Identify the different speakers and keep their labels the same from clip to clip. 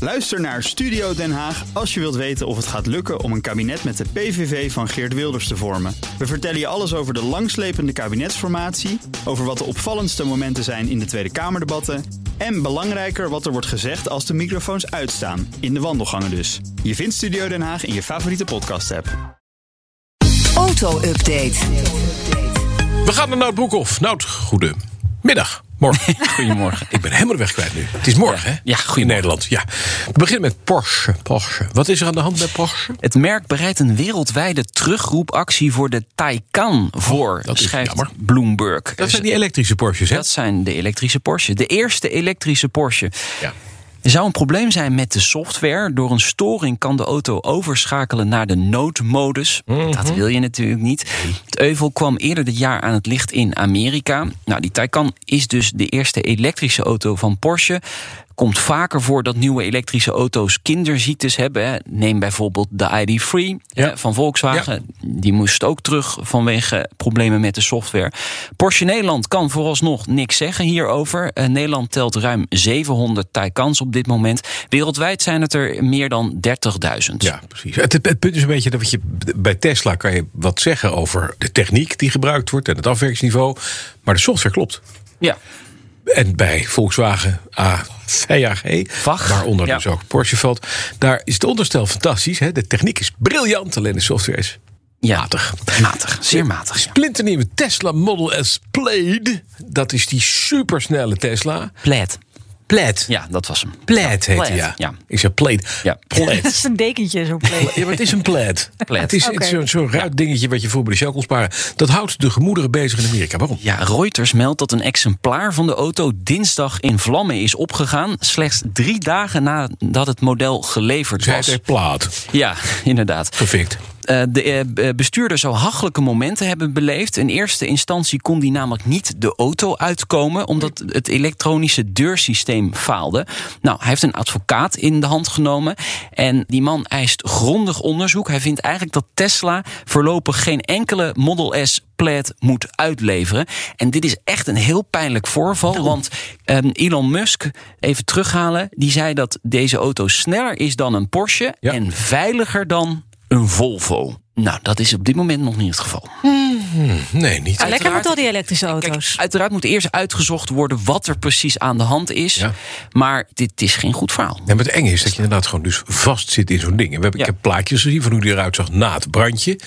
Speaker 1: Luister naar Studio Den Haag als je wilt weten of het gaat lukken om een kabinet met de PVV van Geert Wilders te vormen. We vertellen je alles over de langslepende kabinetsformatie, over wat de opvallendste momenten zijn in de Tweede Kamerdebatten en belangrijker wat er wordt gezegd als de microfoons uitstaan, in de wandelgangen dus. Je vindt Studio Den Haag in je favoriete podcast-app.
Speaker 2: Auto-update.
Speaker 3: We gaan naar Nout Broekhoff. Nout, goedemiddag. Morgen.
Speaker 4: Goedemorgen.
Speaker 3: Ik ben helemaal de weg kwijt nu. Het is morgen, hè?
Speaker 4: Ja,
Speaker 3: In
Speaker 4: goedemorgen.
Speaker 3: Nederland, ja. We beginnen met Porsche. Porsche. Wat is er aan de hand bij Porsche?
Speaker 4: Het merk bereidt een wereldwijde terugroepactie voor de Taycan voor,
Speaker 3: Oh, dat is
Speaker 4: schrijft
Speaker 3: jammer.
Speaker 4: Bloomberg.
Speaker 3: Dat zijn die elektrische Porsches, hè?
Speaker 4: Dat zijn de elektrische Porsche. De eerste elektrische Porsche.
Speaker 3: Ja.
Speaker 4: Er zou een probleem zijn met de software. Door een storing kan de auto overschakelen naar de noodmodus.
Speaker 3: Mhm.
Speaker 4: Dat wil je natuurlijk niet. Het euvel kwam eerder dit jaar aan het licht in Amerika. Nou, die Taycan is dus de eerste elektrische auto van Porsche. Komt vaker voor dat nieuwe elektrische auto's kinderziektes hebben. hè. Neem bijvoorbeeld de ID3
Speaker 3: Ja.
Speaker 4: eh, van Volkswagen. Die moest ook terug vanwege problemen met de software. Porsche Nederland kan vooralsnog niks zeggen hierover. Eh, Nederland telt ruim 700 Taycans op dit moment. Wereldwijd zijn het er meer dan 30.000.
Speaker 3: Ja, precies. Het, het- het punt is een beetje dat je, bij Tesla kan je wat zeggen over de techniek die gebruikt wordt en het afwerkingsniveau. Maar de software klopt.
Speaker 4: Ja.
Speaker 3: En bij Volkswagen A5AG,
Speaker 4: Vach,
Speaker 3: waaronder
Speaker 4: ja.
Speaker 3: dus ook Porsche valt, daar is het onderstel fantastisch. Hè? De techniek is briljant, alleen de software is
Speaker 4: ja.
Speaker 3: matig.
Speaker 4: Matig, zeer matig. ja.
Speaker 3: Splinternieuwe Tesla Model S Plaid. Dat is die supersnelle Tesla.
Speaker 4: Plaid.
Speaker 3: Plaid.
Speaker 4: Ja, dat was hem.
Speaker 3: Plaid heet hij,
Speaker 4: Plaid,
Speaker 3: ja.
Speaker 4: ja.
Speaker 3: Ik zeg Plaid.
Speaker 4: Ja.
Speaker 5: Dat
Speaker 3: Plaid.
Speaker 5: is een dekentje, zo'n plek.
Speaker 3: Ja, maar het is een plaid.
Speaker 4: Plaid.
Speaker 3: Het is het is
Speaker 5: Oké.
Speaker 3: zo'n zo'n ruit dingetje wat je voor bij de Shell kon sparen. Dat houdt de gemoederen bezig in Amerika. Waarom?
Speaker 4: Ja, Reuters meldt dat een exemplaar van de auto dinsdag in vlammen is opgegaan. Slechts drie dagen nadat het model geleverd
Speaker 3: Zij
Speaker 4: was.
Speaker 3: heeft plaat.
Speaker 4: Ja, inderdaad.
Speaker 3: Gefikt.
Speaker 4: Eh, de eh, bestuurder zou hachelijke momenten hebben beleefd. In eerste instantie kon die namelijk niet de auto uitkomen... omdat het elektronische deursysteem faalde. Nou, hij heeft een advocaat in de hand genomen. En die man eist grondig onderzoek. Hij vindt eigenlijk dat Tesla voorlopig geen enkele Model S Plaid moet uitleveren. En dit is echt een heel pijnlijk voorval. Want ehm, Elon Musk, even terughalen... die zei dat deze auto sneller is dan een Porsche...
Speaker 3: Ja.
Speaker 4: en veiliger dan een Volvo. Nou, dat is op dit moment nog niet het geval.
Speaker 3: Nee, niet.
Speaker 5: Ah, lekker met al die elektrische
Speaker 4: Kijk,
Speaker 5: auto's.
Speaker 4: uiteraard moet eerst uitgezocht worden wat er precies aan de hand is.
Speaker 3: Ja.
Speaker 4: Maar dit is geen goed verhaal.
Speaker 3: En wat eng is dat je inderdaad gewoon dus vast zit in zo'n ding. En we hebben,
Speaker 4: Ja.
Speaker 3: Ik heb plaatjes gezien van hoe die eruit zag na het brandje.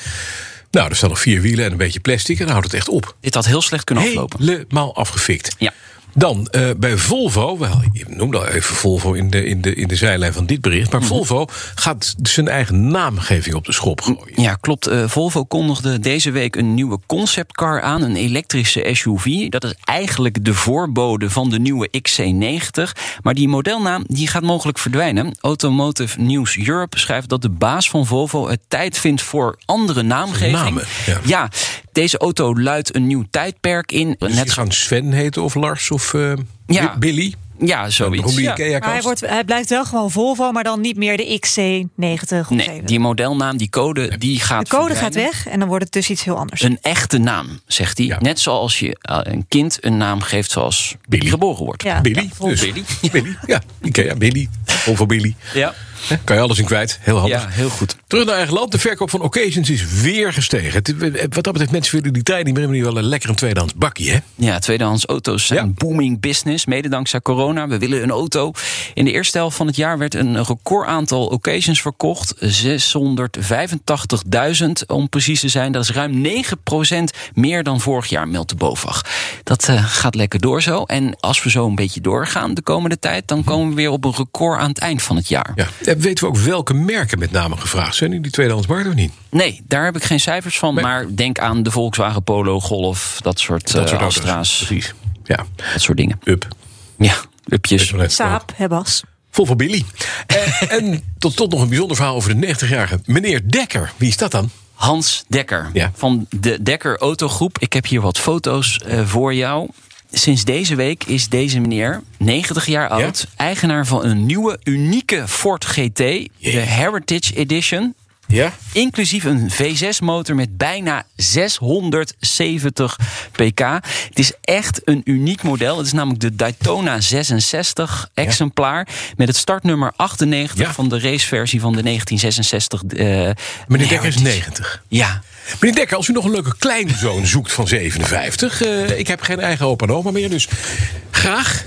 Speaker 3: Nou, er staan nog vier wielen en een beetje plastic. En dan houdt het echt op.
Speaker 4: Dit had heel slecht kunnen aflopen.
Speaker 3: Helemaal afgefikt.
Speaker 4: Ja.
Speaker 3: Dan eh, bij Volvo, wel, je noemde al even Volvo in de, in, de, in de zijlijn van dit bericht.
Speaker 4: Mhm.
Speaker 3: Maar Volvo gaat zijn eigen naamgeving op de schop gooien.
Speaker 4: Ja, klopt. Eh, Volvo kondigde deze week een nieuwe conceptcar aan, een elektrische SUV. Dat is eigenlijk de voorbode van de nieuwe XC90. Maar die modelnaam die gaat mogelijk verdwijnen. Automotive News Europe schrijft dat de baas van Volvo het tijd vindt voor andere naamgeving.
Speaker 3: Namen, ja.
Speaker 4: deze auto luidt een nieuw tijdperk in.
Speaker 3: Dus die gaan Sven heten of Lars of eh,
Speaker 4: Ja.
Speaker 3: Bi- Billy.
Speaker 4: ja, zoiets.
Speaker 3: Robbie
Speaker 4: Ja.
Speaker 3: Ikea
Speaker 5: Maar hij, wordt, hij blijft wel gewoon Volvo, maar dan niet meer de XC90. of
Speaker 4: Nee,
Speaker 5: zeven.
Speaker 4: die modelnaam, die code, die gaat
Speaker 5: de code gaat
Speaker 4: verdwijnen.
Speaker 5: weg en dan wordt het dus iets heel anders.
Speaker 4: Een echte naam, zegt hij.
Speaker 3: Ja.
Speaker 4: Net zoals je eh, een kind een naam geeft zoals
Speaker 3: Billy.
Speaker 4: geboren wordt.
Speaker 5: Ja.
Speaker 3: Billy.
Speaker 5: Volvo.
Speaker 3: dus.
Speaker 4: Billy.
Speaker 3: Billy. Ja, Ikea, Billy. Volvo Billy.
Speaker 4: Ja.
Speaker 3: Hè, Kan je alles in kwijt. Heel handig.
Speaker 4: Ja, heel goed.
Speaker 3: Terug naar eigen land. De verkoop van Occasions is weer gestegen. Het- Wat dat betreft, mensen willen die tijd niet meer. hebben, die wel een lekker een tweedehands bakje, hè?
Speaker 4: Ja, tweedehands auto's zijn
Speaker 3: Ja.
Speaker 4: booming business, mede dankzij corona. We willen een auto. In de eerste helft van het jaar werd een record aantal occasions verkocht. 685.000 om precies te zijn. Dat is ruim 9% meer dan vorig jaar, meldt de BOVAG. Dat eh, gaat lekker door zo. En als we zo een beetje doorgaan de komende tijd...
Speaker 3: Mhm.
Speaker 4: dan komen we weer op een record aan het eind van het jaar.
Speaker 3: Ja. En Eh, weten we ook welke merken met name gevraagd zijn in die tweedehands markt of niet?
Speaker 4: Nee, daar heb ik geen cijfers van.
Speaker 3: Nee.
Speaker 4: Maar denk aan de Volkswagen Polo, Golf, dat soort, eh,
Speaker 3: auto's.
Speaker 4: Astra's,
Speaker 3: Precies. Ja.
Speaker 4: dat soort dingen.
Speaker 3: Up.
Speaker 4: Ja, upjes.
Speaker 5: Saap, Hebas.
Speaker 3: Volvo Billy. Eh, en tot, tot nog een bijzonder verhaal over de 90-jarige meneer Dekker. Wie is dat dan?
Speaker 4: Hans Dekker
Speaker 3: Ja.
Speaker 4: van de Dekker Autogroep. Ik heb hier wat foto's eh, voor jou. Sinds deze week is deze meneer, 90 jaar oud, eigenaar van een nieuwe, unieke Ford GT, de Heritage Edition.
Speaker 3: Ja?
Speaker 4: Inclusief een V6-motor met bijna 670 pk. Het is echt een uniek model. Het is namelijk de Daytona 66 exemplaar. Met het startnummer 98
Speaker 3: Ja.
Speaker 4: van de raceversie van de 1966. eh,
Speaker 3: Meneer Dekker is
Speaker 4: Heritage.
Speaker 3: 90.
Speaker 4: Ja.
Speaker 3: Meneer Dekker, als u nog een leuke kleinzoon zoekt van 57... eh, ik heb geen eigen opa en oma meer, dus graag.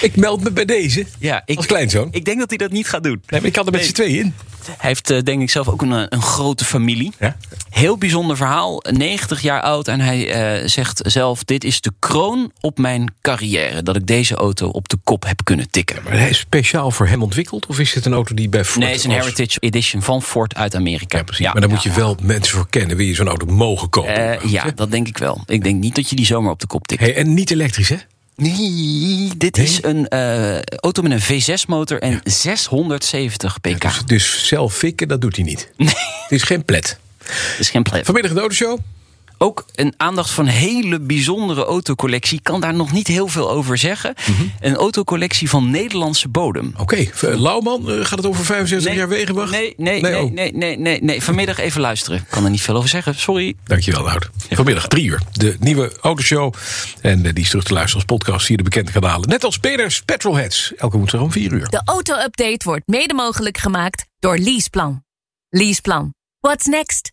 Speaker 3: Ik meld me bij deze
Speaker 4: Ja, ik,
Speaker 3: als kleinzoon.
Speaker 4: Ik denk dat hij dat niet gaat doen.
Speaker 3: nee, maar ik kan er met z'n tweeën in.
Speaker 4: Hij heeft eh, denk ik zelf ook een, eh, een grote familie.
Speaker 3: Ja?
Speaker 4: Heel bijzonder verhaal. 90 jaar oud en hij eh, zegt zelf... dit is de kroon op mijn carrière. Dat ik deze auto op de kop heb kunnen tikken.
Speaker 3: Maar hij is speciaal voor hem ontwikkeld? Of is dit een auto die bij Ford...
Speaker 4: Nee, het is een
Speaker 3: als-
Speaker 4: Heritage Edition van Ford uit Amerika.
Speaker 3: Ja, precies. maar daar moet je wel mensen voor kennen. Wil je zo'n auto mogen kopen?
Speaker 4: Eh,
Speaker 3: überhaupt,
Speaker 4: ja,
Speaker 3: hè?
Speaker 4: dat denk ik wel. Ik denk niet dat je die zomaar op de kop tikt.
Speaker 3: Hey, en niet elektrisch, hè?
Speaker 4: Nee, dit
Speaker 3: Nee?
Speaker 4: is een eh, auto met een V6-motor en 670 pk.
Speaker 3: Dus, dus zelf fikken, dat doet hij niet. Nee. Het is geen plet.
Speaker 4: dat is geen plek.
Speaker 3: Vanmiddag de Autoshow.
Speaker 4: Ook een aandacht van een hele bijzondere autocollectie. Ik kan daar nog niet heel veel over zeggen.
Speaker 3: Mhm.
Speaker 4: Een autocollectie van Nederlandse bodem.
Speaker 3: Oké, eh, Lauwman, eh, gaat het over 65 jaar Wegenwacht?
Speaker 4: Nee, nee, nee,
Speaker 3: oh.
Speaker 4: nee, nee, nee, nee. Vanmiddag even luisteren. Ik kan er niet veel over zeggen, sorry.
Speaker 3: Dankjewel, Hout. Vanmiddag drie uur. De nieuwe Autoshow. En eh, die is terug te luisteren als podcast via de bekende kanalen. Net als Peders Petrolheads. Elke woensdag om vier uur.
Speaker 2: De auto-update wordt mede mogelijk gemaakt door Leaseplan. Leaseplan. What's next?